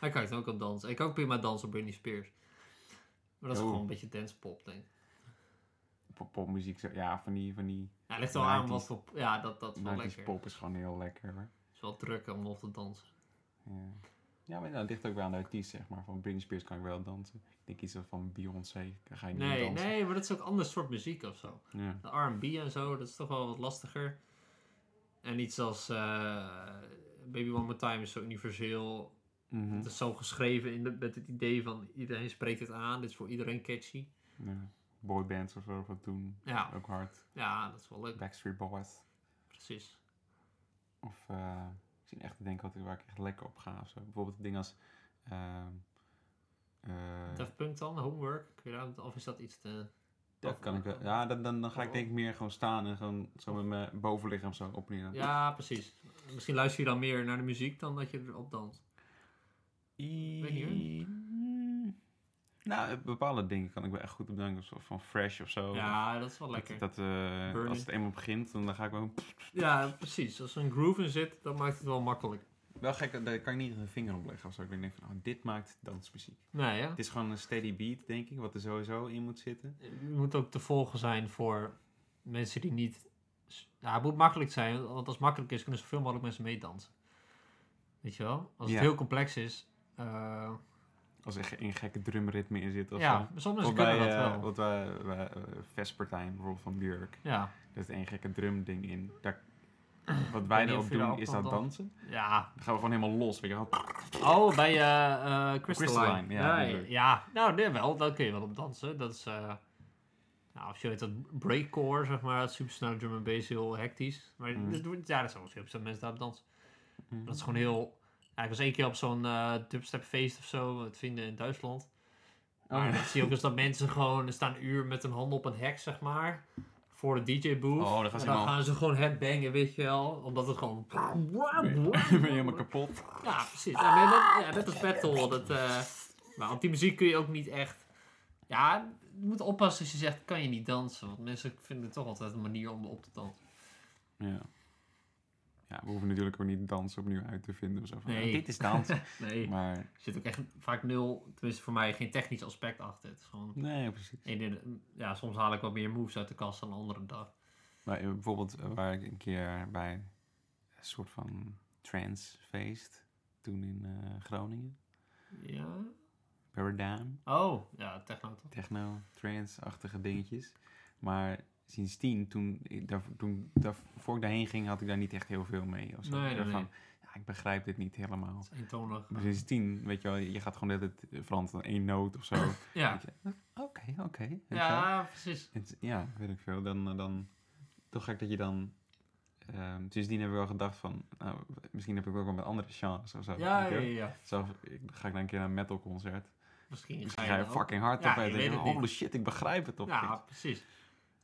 Speaker 1: Daar kan ik dan ook op dansen. Ik kan ook prima dansen op Britney Spears. Maar dat is
Speaker 2: Oh.
Speaker 1: gewoon een beetje dancepop, denk ik.
Speaker 2: Pop- Popmuziek, zo- ja, van die, van die
Speaker 1: Ja, ligt wel aan
Speaker 2: 90s.
Speaker 1: wat voor... Ja, dat, dat is wel
Speaker 2: 90s
Speaker 1: lekker.
Speaker 2: pop is gewoon heel lekker. Hoor.
Speaker 1: Het is wel druk om nog te dansen.
Speaker 2: Ja. ja, maar dat ligt ook wel aan de artiest, zeg maar. Van Britney Spears kan ik wel dansen. Ik denk iets van Beyoncé, daar ga je niet mee
Speaker 1: Nee,
Speaker 2: dansen.
Speaker 1: nee, maar dat is ook een ander soort muziek of zo.
Speaker 2: Ja.
Speaker 1: De R&B en zo, dat is toch wel wat lastiger. En iets als eh, Baby One More Time is zo universeel.
Speaker 2: Mhm.
Speaker 1: Het is zo geschreven in de, met het idee van iedereen spreekt het aan. Dit is voor iedereen catchy.
Speaker 2: ja. Boybands of zo, wat toen.
Speaker 1: Ja,
Speaker 2: Ook hard.
Speaker 1: ja dat is wel leuk.
Speaker 2: Backstreet Boys.
Speaker 1: Precies.
Speaker 2: Of eh, ik zie echt te denken wat, waar ik echt lekker op ga of zo. Bijvoorbeeld dingen als... ehm eh,
Speaker 1: Def Punk dan, Homework. Ik weet niet, of is dat iets te...
Speaker 2: dat kan ik wel. Ja, dan, dan, dan
Speaker 1: Oh.
Speaker 2: ga ik denk ik meer gewoon staan en gewoon zo met mijn bovenlichaam zo op en neer.
Speaker 1: Ja, precies. Misschien luister je dan meer naar de muziek dan dat je erop danst. Weet niet, hoor.
Speaker 2: Nou, eh, bepaalde dingen kan ik wel echt goed op danken. Zo Van Fresh of zo.
Speaker 1: Ja, dat is wel
Speaker 2: Oh. Dat-
Speaker 1: lekker.
Speaker 2: Dat, eh,
Speaker 1: Burn
Speaker 2: als
Speaker 1: It.
Speaker 2: het eenmaal begint, dan dan ga ik wel...
Speaker 1: Ja, precies. Als er een groove in zit, dan maakt het wel makkelijk.
Speaker 2: Wel gek, daar kan ik niet een vinger op leggen of zo. Ik denk van, oh, dit maakt dansmuziek.
Speaker 1: Nee, ja.
Speaker 2: Het is gewoon een steady beat, denk ik, wat er sowieso in moet zitten.
Speaker 1: Het moet ook te volgen zijn voor mensen die niet... Ja, het moet makkelijk zijn, want als het makkelijk is, kunnen zoveel mogelijk mensen meedansen. Weet je wel? Als
Speaker 2: Ja.
Speaker 1: het heel complex is... eh,
Speaker 2: Als er ge- een gekke drumritme in zit of
Speaker 1: ja,
Speaker 2: zo.
Speaker 1: maar sommige
Speaker 2: Of
Speaker 1: mensen
Speaker 2: bij,
Speaker 1: kunnen dat
Speaker 2: eh,
Speaker 1: wel.
Speaker 2: wat wij, wij, eh, Vespertime bijvoorbeeld van Björk.
Speaker 1: Ja,
Speaker 2: Er zit één gekke drumding in. Daar, wat wij
Speaker 1: niet of
Speaker 2: erop
Speaker 1: je daarop
Speaker 2: doen, is
Speaker 1: kan
Speaker 2: dat
Speaker 1: dansen.
Speaker 2: dansen.
Speaker 1: ja.
Speaker 2: Dan gaan we gewoon helemaal los. Weet je, wel.
Speaker 1: Oh, bij eh eh Crystalline.
Speaker 2: Crystalline, ja,
Speaker 1: Nee,
Speaker 2: natuurlijk.
Speaker 1: ja. nou, nee, wel. Daar kun je wel op dansen. Dat is... eh, nou, of je weet dat breakcore, zeg maar. Supersnelle drum en bass, heel hectisch. Maar
Speaker 2: Mm.
Speaker 1: dat doet- ja, dat zijn wel 40% mensen daarop dansen.
Speaker 2: Mhm.
Speaker 1: Dat is gewoon heel... Ja, ik was één keer op zo'n eh dubstepfeest of zo, het vinden in Duitsland. Maar dat zie je ook eens dat mensen gewoon... Er staan een uur met een hand op een hek, zeg maar. Voor de DJ-booth.
Speaker 2: Oh,
Speaker 1: en
Speaker 2: dan gaan ze
Speaker 1: dan
Speaker 2: helemaal-
Speaker 1: gaan ze gewoon headbangen, weet je wel. Omdat het gewoon...
Speaker 2: ben je
Speaker 1: Oh.
Speaker 2: helemaal kapot.
Speaker 1: Ja, precies. Ja, nee, dat, ja, net als battle. Dat, eh, maar op die muziek kun je ook niet echt... Ja, je moet oppassen als je zegt, kan je niet dansen. Want mensen vinden toch altijd een manier om op te dansen.
Speaker 2: Ja. ja, we hoeven natuurlijk ook niet dansen opnieuw uit te vinden. Of zo. Van,
Speaker 1: Nee.
Speaker 2: ja, Dit is dansen.
Speaker 1: Nee, er
Speaker 2: maar
Speaker 1: zit ook echt vaak nul, tenminste voor mij, geen technisch aspect achter. Het is gewoon...
Speaker 2: nee, precies.
Speaker 1: ene- ja, soms haal ik wat meer moves uit de kast dan de andere dag.
Speaker 2: Maar eh, bijvoorbeeld eh, waar ik een keer bij een soort van transfeest toen in eh, Groningen.
Speaker 1: Ja.
Speaker 2: Paradigm.
Speaker 1: Oh, ja, techno toch?
Speaker 2: techno, trance-achtige dingetjes. Maar sindsdien, toen, ik daar, toen daar, voor ik daarheen ging, had ik daar niet echt heel veel mee. Of zo.
Speaker 1: Nee, nee,
Speaker 2: Daarvan,
Speaker 1: nee.
Speaker 2: Ja, ik begrijp dit niet helemaal.
Speaker 1: Het is eentonig.
Speaker 2: Maar sindsdien, weet je wel, je gaat gewoon net het eh, Frans dan één noot of zo.
Speaker 1: Ja,
Speaker 2: Oké, oké. weet je wel.
Speaker 1: ja precies.
Speaker 2: Het- Ja, weet ik veel. Dan, eh, dan toch gek dat je dan... ehm, sindsdien heb ik wel gedacht van, nou, misschien heb ik ook wel met andere genres of zo.
Speaker 1: Ja, ja,
Speaker 2: weet je
Speaker 1: ja,
Speaker 2: wel.
Speaker 1: ja.
Speaker 2: Zo ga ik dan een keer naar een metal concert.
Speaker 1: Misschien
Speaker 2: Misschien ga je
Speaker 1: dan ook-
Speaker 2: fucking hard
Speaker 1: Ja,
Speaker 2: op en
Speaker 1: je
Speaker 2: denk
Speaker 1: weet
Speaker 2: je,
Speaker 1: het niet.
Speaker 2: holy shit, ik begrijp het toch.
Speaker 1: Ja, precies.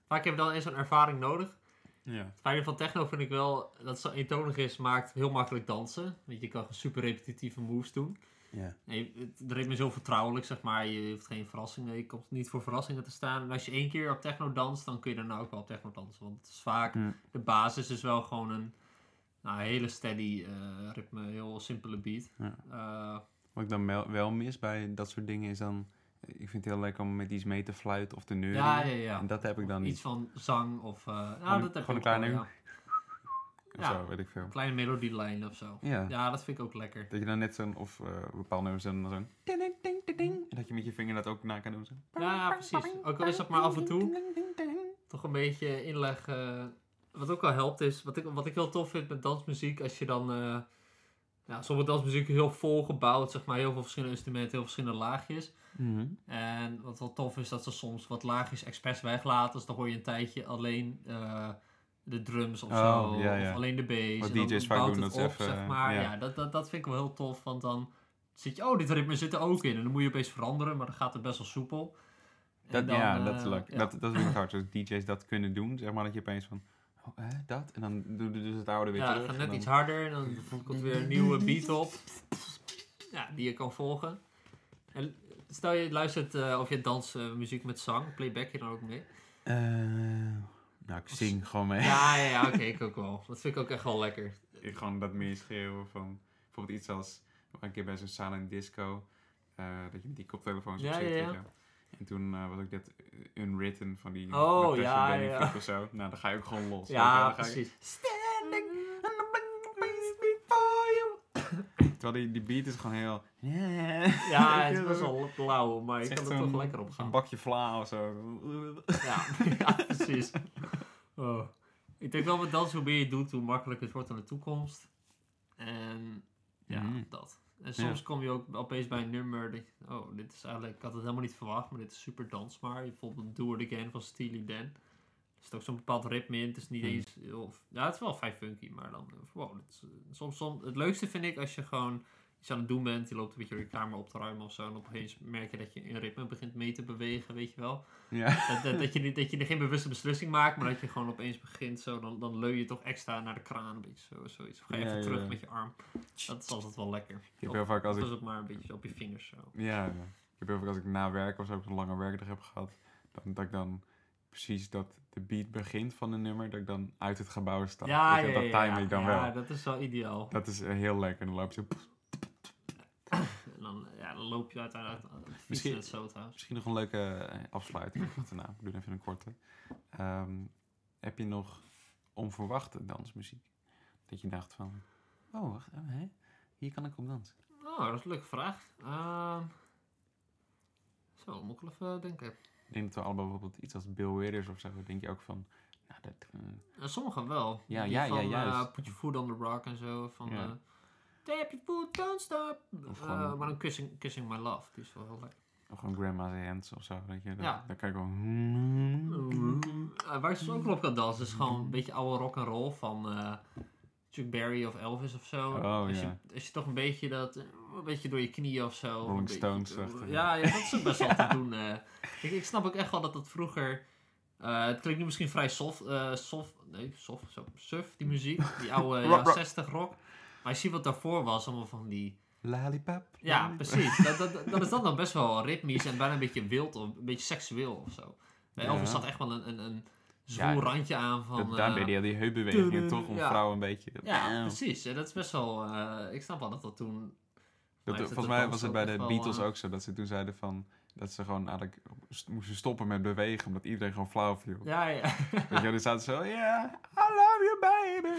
Speaker 1: Vaak heb je dan eens zo'n ervaring nodig.
Speaker 2: Ja.
Speaker 1: Het fijne van techno vind ik wel dat het zo eentonig is, maakt heel makkelijk dansen. Want je kan gewoon super repetitieve moves doen.
Speaker 2: Ja.
Speaker 1: En je- het- de ritme is heel vertrouwelijk, zeg maar. Je hoeft geen verrassingen, je komt niet voor verrassingen te staan. En als je één keer op techno danst, dan kun je daarna ook wel op techno dansen. Want het is vaak,
Speaker 2: Mm.
Speaker 1: de basis is wel gewoon een nou, hele steady eh, ritme, heel simpele beat.
Speaker 2: Ja.
Speaker 1: Eh,
Speaker 2: Wat ik dan wel, wel mis bij dat soort dingen is dan... Ik vind het heel leuk om met iets mee te fluiten of te neuren.
Speaker 1: ja, ja, ja.
Speaker 2: En dat heb ik dan
Speaker 1: Iets
Speaker 2: niet.
Speaker 1: van zang of... eh nou,
Speaker 2: Gewoon-
Speaker 1: dat heb
Speaker 2: gewoon
Speaker 1: ik
Speaker 2: een
Speaker 1: ook wel,
Speaker 2: kleine-
Speaker 1: ja.
Speaker 2: Of
Speaker 1: Ja.
Speaker 2: zo, weet ik veel.
Speaker 1: Kleine melodielijn of zo.
Speaker 2: Ja.
Speaker 1: Ja, dat vind ik ook lekker.
Speaker 2: Dat je dan net zo'n... Of eh bepaalde nummers dan zo'n... ding, ding, ding, ding, ding. En dat je met je vinger dat ook na kan doen. Zo.
Speaker 1: Mhm. Ja, ja, precies. Ook al is dat maar af en toe. Toch een beetje inleg. eh, wat ook wel helpt is, wat ik, wat ik heel tof vind met dansmuziek, als je dan... eh, ja, sommige dansmuziek is heel vol gebouwd, zeg maar. Heel veel verschillende instrumenten, heel veel verschillende laagjes.
Speaker 2: Mhm.
Speaker 1: En wat wel tof is, dat ze soms wat laagjes expres weglaten. Dus dan hoor je een tijdje alleen eh, de drums of
Speaker 2: Oh,
Speaker 1: zo.
Speaker 2: ja, ja.
Speaker 1: Of alleen de bass.
Speaker 2: Wat
Speaker 1: en dan
Speaker 2: DJ's vaak
Speaker 1: bouwt
Speaker 2: doen,
Speaker 1: het
Speaker 2: dat is
Speaker 1: op,
Speaker 2: even,
Speaker 1: zeg maar.
Speaker 2: ja.
Speaker 1: Ja, dat, dat, dat vind ik wel heel tof. Want dan zit je, oh, dit ritme zit er ook in. En dan moet je opeens veranderen, maar dan gaat het best wel soepel. En
Speaker 2: Dat,
Speaker 1: dan,
Speaker 2: ja,
Speaker 1: eh,
Speaker 2: dat is leuk.
Speaker 1: ja.
Speaker 2: Dat, dat vind ik hard. Dus DJ's dat kunnen doen. Zeg maar dat je opeens van... Oh, hè, dat? En dan doe je dus het oude weer
Speaker 1: Ja, het
Speaker 2: terug.
Speaker 1: gaat
Speaker 2: en
Speaker 1: net
Speaker 2: dan-
Speaker 1: iets harder en dan komt weer een nieuwe beat op. Ja, die je kan volgen. En stel je luistert eh, of je dans eh, muziek met zang, playback je dan ook mee?
Speaker 2: Eh, nou, ik zing gewoon mee.
Speaker 1: Ja, ja, ja oké, ik ook wel. Dat vind ik ook echt wel lekker.
Speaker 2: ik gewoon dat meer schreeuwen van bijvoorbeeld iets als een keer bij zo'n silent disco eh, dat je met die koptelefoons op
Speaker 1: Ja,
Speaker 2: zit.
Speaker 1: ja,
Speaker 2: weet
Speaker 1: ja.
Speaker 2: je wel. En toen eh, was ook dat eh, unwritten van die
Speaker 1: Oh,
Speaker 2: Natasha
Speaker 1: ja,
Speaker 2: Bedingfield
Speaker 1: ja.
Speaker 2: of zo. Nou, dan ga je ook gewoon los.
Speaker 1: Ja,
Speaker 2: weet je wel. Dan ga je-
Speaker 1: precies.
Speaker 2: Standing on the brink of peace before you. Terwijl die, die beat is gewoon heel.
Speaker 1: Ja, het is best wel blauw, maar
Speaker 2: Het
Speaker 1: je
Speaker 2: is
Speaker 1: kan
Speaker 2: echt
Speaker 1: er toch
Speaker 2: zo'n-
Speaker 1: lekker op
Speaker 2: Een
Speaker 1: gaan.
Speaker 2: bakje vla of zo.
Speaker 1: Ja, ja, precies. Oh. Ik denk wel met dansen, hoe meer je doet, hoe makkelijker het wordt in de toekomst. En ja,
Speaker 2: Mhm.
Speaker 1: dat. En soms kom je ook opeens bij een nummer. Dat je, oh, dit is eigenlijk, ik had het helemaal niet verwacht, maar dit is super dansbaar. Bijvoorbeeld Do It Again van Steely Dan. Er zit ook zo'n bepaald ritme in. Het is niet
Speaker 2: Mhm.
Speaker 1: eens. heel- ja, het is wel vrij funky, maar dan. eh, Wow, dit is, eh, soms, soms, het leukste vind ik als je gewoon iets aan het doen bent. Je loopt een beetje door je kamer op te ruimen of zo. En opeens merk je dat je in ritme begint mee te bewegen, weet je wel.
Speaker 2: Ja.
Speaker 1: Dat, dat, dat, je, niet- dat je er geen bewuste beslissing maakt, maar dat je gewoon opeens begint zo, dan, dan leu je toch extra naar de kraan een beetje zo, zoiets. Of ga je
Speaker 2: Ja,
Speaker 1: even
Speaker 2: ja,
Speaker 1: terug
Speaker 2: ja.
Speaker 1: met je arm. Dat is altijd wel lekker.
Speaker 2: Ik heb heel vaak als
Speaker 1: Of
Speaker 2: ik
Speaker 1: is het maar een beetje op je vingers zo.
Speaker 2: Ja, ja. ik heb heel vaak als ik na werk of zo ook een lange werkdag heb gehad, dan, dat ik dan precies dat de beat begint van een nummer, dat ik dan uit het gebouw sta.
Speaker 1: Ja,
Speaker 2: Weet je,
Speaker 1: ja, ja,
Speaker 2: dat time
Speaker 1: ja,
Speaker 2: ik dan
Speaker 1: ja,
Speaker 2: wel.
Speaker 1: dat is wel ideaal.
Speaker 2: Dat is eh, heel lekker. En dan loop je zo-
Speaker 1: En dan, ja, dan loop je uiteindelijk aan het
Speaker 2: Misschien-
Speaker 1: fietsen en zo trouwens.
Speaker 2: Misschien nog een leuke eh, afsluiting. of Wat dan nou? Ik doe even een korte. Ehm, heb je nog onverwachte dansmuziek? Dat je dacht van, oh, wacht, oh, hè? hier kan ik op dansen.
Speaker 1: Oh, dat is een leuke vraag. Ehm, zo, moet ik wel even denken.
Speaker 2: Ik denk dat we allemaal bijvoorbeeld iets als Bill Withers of zo, denk je ook van, nou, dat... eh,
Speaker 1: Ja, sommigen wel.
Speaker 2: Ja,
Speaker 1: Die
Speaker 2: ja, ja,
Speaker 1: van, eh,
Speaker 2: juist.
Speaker 1: Put your foot on the rock en zo. Van,
Speaker 2: Ja.
Speaker 1: eh, Tap your foot, don't stop.
Speaker 2: Of
Speaker 1: Eh,
Speaker 2: gewoon-
Speaker 1: maar dan kissing, kissing My Love. Die is wel heel lekker.
Speaker 2: Of gewoon Grandma's Hands of zo, weet je. Dat,
Speaker 1: Ja.
Speaker 2: Dan kan ik wel...
Speaker 1: Eh, waar ze ook wel op kan dansen is gewoon
Speaker 2: Mm.
Speaker 1: een beetje oude rock and roll van eh Chuck Berry of Elvis of zo.
Speaker 2: Oh,
Speaker 1: als,
Speaker 2: ja.
Speaker 1: je, als je toch een beetje dat, eh, een beetje door je knieën of zo.
Speaker 2: Rolling
Speaker 1: een beetje-
Speaker 2: Stones-achtig,
Speaker 1: ja, ja, dat is ook best wel te doen. eh. ik, ik snap ook echt wel dat dat vroeger. eh, het klinkt nu misschien vrij soft, eh, soft, nee, soft, zo, suf, die muziek, die oude
Speaker 2: Rock,
Speaker 1: jaren
Speaker 2: rock.
Speaker 1: 60 rock. Maar je ziet wat daarvoor was, allemaal van die
Speaker 2: Lollipop.
Speaker 1: ja,
Speaker 2: lollipop.
Speaker 1: precies. Dat, dat, dan is dat dan best wel ritmisch en bijna een beetje wild of een beetje seksueel of zo. Bij
Speaker 2: Ja.
Speaker 1: Elvis zat echt wel een, een, een zwoel
Speaker 2: Ja,
Speaker 1: randje aan van...
Speaker 2: Dat, daar
Speaker 1: eh,
Speaker 2: ben je al die heupbewegingen
Speaker 1: tudu,
Speaker 2: toch? Om
Speaker 1: ja.
Speaker 2: vrouwen een beetje...
Speaker 1: eh, Ja, precies. En dat is best wel... eh, ik snap wel dat dat toen
Speaker 2: Dat,
Speaker 1: heeft het
Speaker 2: volgens
Speaker 1: de
Speaker 2: mij
Speaker 1: dans
Speaker 2: was het
Speaker 1: ook
Speaker 2: bij
Speaker 1: echt
Speaker 2: de
Speaker 1: wel,
Speaker 2: Beatles
Speaker 1: eh,
Speaker 2: ook zo. Dat ze toen zeiden van... Dat ze gewoon eigenlijk s- moesten stoppen met bewegen. Omdat iedereen gewoon flauw viel.
Speaker 1: Ja, ja.
Speaker 2: Weet je wel, dan zaten ze zo... Yeah, I love you baby.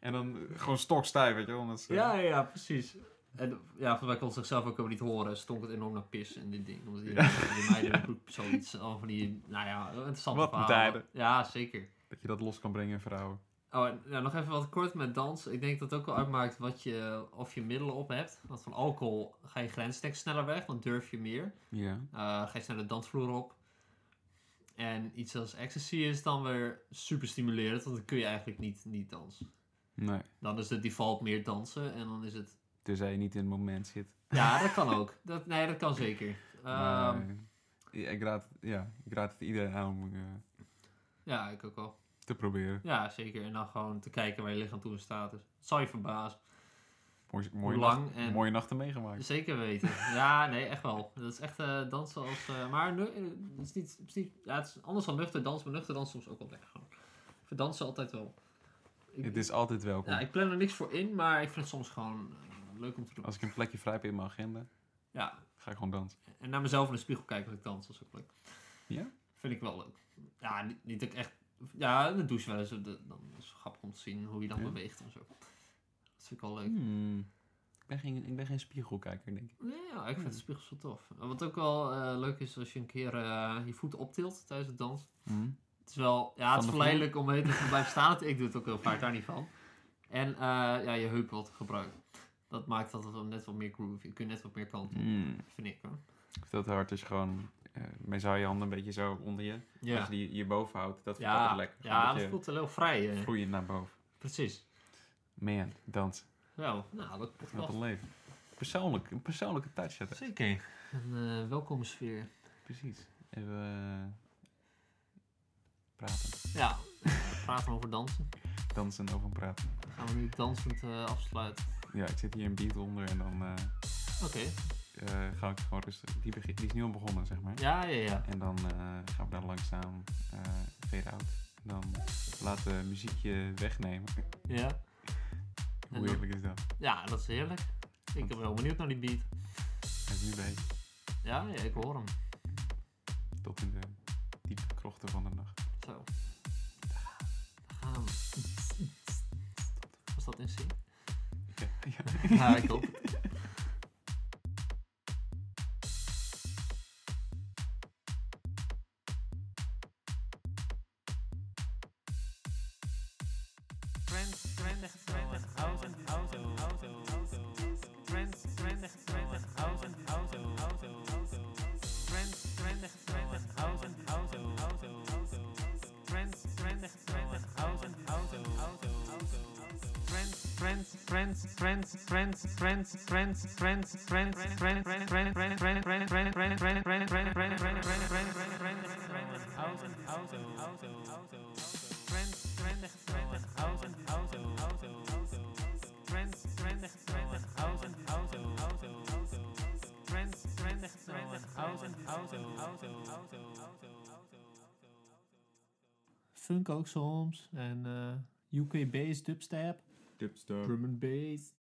Speaker 2: En dan gewoon stokstijf, weet je wel. Omdat ze,
Speaker 1: ja, ja, precies. En ja, van mij kon ze zichzelf ook helemaal niet horen. Stonk het enorm naar pis en dit ding. Omdat die, die meiden in de groep zoiets. Al van die, nou ja, interessante
Speaker 2: Wat
Speaker 1: verhalen.
Speaker 2: tijden.
Speaker 1: Ja, zeker.
Speaker 2: Dat je dat los kan brengen in vrouwen.
Speaker 1: Oh, en, nou, nog even wat kort met dans. Ik denk dat het ook wel uitmaakt wat je, of je middelen op hebt. Want van alcohol ga je grenstekst sneller weg, dan durf je meer.
Speaker 2: Ja.
Speaker 1: Eh, ga je sneller de dansvloer op. En iets als ecstasy is dan weer super stimulerend, want dan kun je eigenlijk niet, niet dansen.
Speaker 2: Nee.
Speaker 1: Dan is de default meer dansen en dan is het...
Speaker 2: Tenzij je niet in het moment zit.
Speaker 1: Ja, dat kan ook. Dat, nee, dat kan zeker. Ehm,
Speaker 2: Maar, eh, ja, ik raad, ja, ik raad het iedereen aan om eh,
Speaker 1: Ja, ik ook wel.
Speaker 2: te proberen.
Speaker 1: Ja, zeker. En dan gewoon te kijken waar je lichaam toe in staat is. Het zal je verbazen.
Speaker 2: Mooi, mooie,
Speaker 1: lang
Speaker 2: nacht-
Speaker 1: en-
Speaker 2: mooie nachten meegemaakt.
Speaker 1: Zeker weten. Ja, nee, echt wel. Dat is echt eh, dansen als... eh, maar nu, eh, het, is niet, het, is niet, ja, het is anders dan nuchter dans, maar nuchter dans soms ook wel weg. Gewoon. Ik vind dansen altijd wel... Ik-
Speaker 2: Het is altijd welkom.
Speaker 1: Ja, ik plan er niks voor in, maar ik vind het soms gewoon eh, leuk om te doen.
Speaker 2: Als ik een plekje vrij heb in mijn agenda,
Speaker 1: Ja,
Speaker 2: ga ik gewoon dansen.
Speaker 1: en naar mezelf in de spiegel kijken als ik dans, dat is ook leuk.
Speaker 2: Ja?
Speaker 1: Vind ik wel leuk. Ja, niet, niet dat ik echt... Ja, in de douche wel eens, eh, de- dan is het grappig om te zien hoe je dan
Speaker 2: Ja.
Speaker 1: beweegt en zo. Dat vind ik wel leuk.
Speaker 2: Hmm. Ik, ben geen, ik ben geen spiegelkijker, denk ik.
Speaker 1: Nee, ja, ik
Speaker 2: Hmm.
Speaker 1: vind de spiegels wel tof. Wat ook wel eh, leuk is als je een keer eh, je voeten optilt tijdens het dansen.
Speaker 2: Hmm.
Speaker 1: Het is wel, ja,
Speaker 2: Van
Speaker 1: het is
Speaker 2: de
Speaker 1: verleidelijk om even te blijven staan. Ik doe het ook heel vaak, daar niet van. En eh, ja, je heup wat gebruiken. Dat maakt dat het wel net wat meer groovy. Je kunt net wat meer kant op,
Speaker 2: Hmm.
Speaker 1: vind ik hoor.
Speaker 2: Veel te hard is gewoon... eh meestal hou je handen een beetje zo onder je. Als
Speaker 1: Ja,
Speaker 2: je die hierboven houdt, dat voelt altijd
Speaker 1: ja,
Speaker 2: lekker.
Speaker 1: ja
Speaker 2: dat
Speaker 1: dat
Speaker 2: je
Speaker 1: voelt wel heel vrij. eh.
Speaker 2: groeien naar boven.
Speaker 1: Precies.
Speaker 2: Man, dansen.
Speaker 1: Nou, nou dat
Speaker 2: Wat een
Speaker 1: podcast.
Speaker 2: leven. Persoonlijk. Een persoonlijke touch. hè.
Speaker 1: Zeker. Een eh, welkome sfeer.
Speaker 2: Precies. Even eh, praten.
Speaker 1: Ja, praten over dansen.
Speaker 2: Dansen over praten.
Speaker 1: Dan gaan we nu dansend eh, afsluiten.
Speaker 2: Ja, ik zit hier een beat onder en dan eh,
Speaker 1: Oké.
Speaker 2: eh, ga ik gewoon rustig. Die, begin, die is nu al begonnen, zeg maar.
Speaker 1: Ja, ja, ja.
Speaker 2: En dan eh, gaan we daar langzaam eh fade out. En dan laten we muziekje wegnemen.
Speaker 1: Ja. En
Speaker 2: Hoe
Speaker 1: dan-
Speaker 2: heerlijk is dat?
Speaker 1: Ja, dat is heerlijk. Ik ben wel benieuwd naar die beat.
Speaker 2: En nu bij
Speaker 1: Ja, ja ik hoor hem.
Speaker 2: tot in de diepe krochten van de nacht.
Speaker 1: Zo. Daar gaan we. Was dat in zin?
Speaker 2: Ja, ja.
Speaker 1: Ja, ik hoop het. Funk ook soms. En UK bass, dubstep.
Speaker 2: Dubstep.
Speaker 1: Drum and bass.